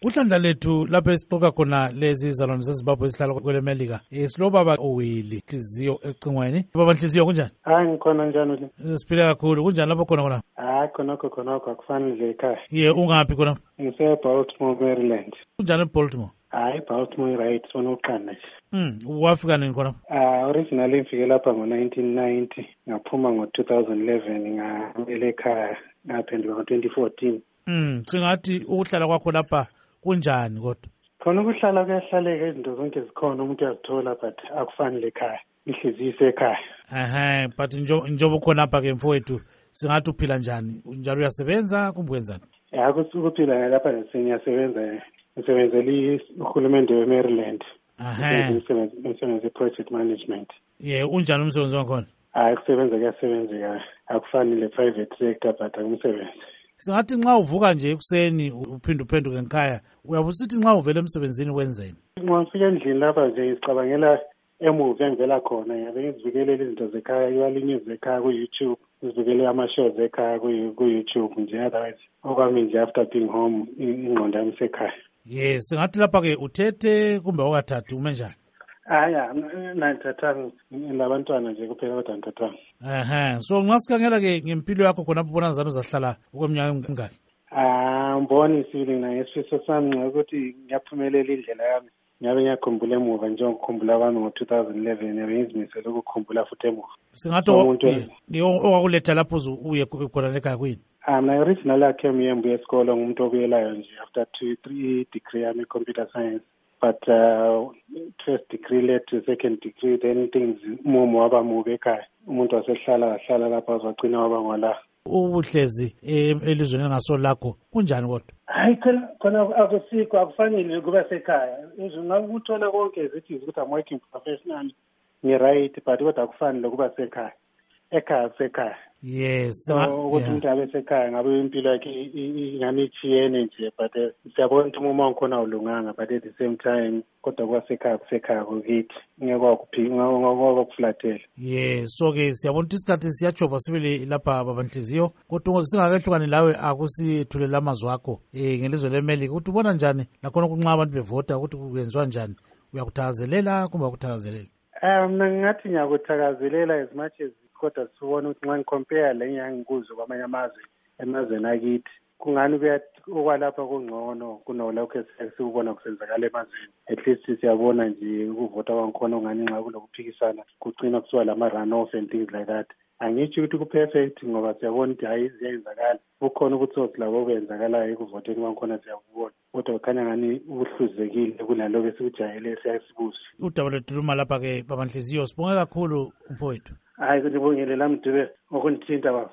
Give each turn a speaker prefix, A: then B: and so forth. A: kuhlandla lethu lapho esixoka khona lezi izalwane zezimbabwe ezihlala kwele melika um silobaba owili nhliziyo ecingweni baba nhliziyo kunjani
B: hayi ngikhona njani le
A: siphile kakhulu kunjani lapho khona khona
B: hayi khonokho khonokho akufanele ekhaya
A: ye ungaphi khona
B: ngise-baltimore maryland
A: kunjani ebaltimore
B: hayi baltimore right sona uqanda nje
A: um wafika nini khona
B: Ah, originally ngifike lapha ngo-1990 ngaphuma ngo-2011 ngabuyela ekhaya ngaphenduka ngo-2014
A: um singathi ukuhlala kwakho lapha kunjani kodwa
B: khona ukuhlala kuyahlaleka izinto zonke zikhona umuntu uyazithola but akufanele ekhaya inhliziyo isekhaya
A: ehe but njo- njengoba ukhonapha ke mfowethu singathi uphila njani njalo uyasebenza kumbe wenzani
B: ya ukuphila lapha ngiyasebenza ngisebenzele i- uhulumende we-maryland
A: ehe
B: Ngisebenza- ngisebenza i-project management
A: ye unjani umsebenzi wakhona
B: hayi kusebenza kuyasebenzeka akufanele private sector but akumsebenzi
A: singathi nxa uvuka nje ekuseni u- uphinde uphenduke ngekhaya uyabe usithi nxa uvela emsebenzini wenzeni
B: nxa ngifika endlini lapha nje ngizicabangela emuvi engivela khona ngiyabe ngizivikelele izinto zekhaya iwalinye zekhaya ku-youtube ngizivikele ama-shows ekhaya ku- ku-youtube nje otherwise okwami nje after being home i- ingqondo yami isekhaya
A: ye singathi lapha-ke uthethe kumbe awukathathi ume njani
B: hayi ya nantatanga nabantwana nje kuphela kodwa ntatanga
A: ehe so nxa sikhangela-ke ngempilo yakho khonapho ubona zani uzahlala okweminyaka emingaki
B: Ah, mboni sibili na ngesifiso sami nxa ukuthi ngiyaphumelela indlela yami ngiyabe ngiyakhumbula emuva njengokukhumbula kwami ngo-two thousand eleven yabe ngizimisele ukukhumbula futhi emuva
A: singathi
B: Umuntu-
A: owa- ye, ye, okwakuletha lapho uze uye khu- khona lekhaya kuyini
B: Ah, mna original yakhe emyembu yesikolo ngumuntu obuyelayo nje after two three degree yami i-computer science but uh, first degree led to second degree then things umumo waba mubi ekhaya umuntu wasehlala wahlala lapha wazwagcina waba ngola
A: uhlezi em- elizweni elingaso lakho kunjani kodwa
B: hayi khona khona akusikho akufanele kuba sekhaya ngakuthola konke zithi ukuthi i'm working professional ngi-right but kodwa akufanele kuba sekhaya ekhaya kusekhaya
A: yes
B: so ukuthi umuntu abe sekhaya ngabe impilo yakhe i- i- ingani ithiyene nje but eh, siyabona ukuthi umumo wangikhona awulunganga but at the same time kodwa kuba sekhaya kusekhaya kokithi ngekwakuphingakufulathela
A: ye so ke siyabona ukuthi isikhathi siyajova sibili lapha babanhliziyo kodwa ukuze singakehlukani lawe akusithulela amazwi akho um ngelizwe lemelika ukuthi ubona njani lakhona kunxa abantu bevota ukuthi kwenziwa njani uyakuthakazelela kumbe akuthakazelela
B: um mna ngingathi ngiyakuthakazelela as much as kodwa sibone ukuthi nxa ngicompare le engangikuzo kwamanye amazwe emazweni akithi kungani kuya- okwalapha kungcono kunalokho esike sikubona kusenzakala emazweni at least siyabona nje ukuvota kwangikhona ungani nxa kulokuphikisana kugcina kusiwa lama-run off and things like that angitsho ukuthi ku-perfect ngoba siyabona ukuthi hhayi ziyayenzakala kukhona ubutsotsi labo obenzakalayo ekuvoteni kwangikhona siyakubona kodwa kukhanya ngani ubuhluzekile kunalokho esikujayele siyasibuze
A: udaba lwetuluma lapha-ke babanhliziyo sibonge kakhulu umfowethu
B: hayi kunibongele lamdube ngokundithinta baba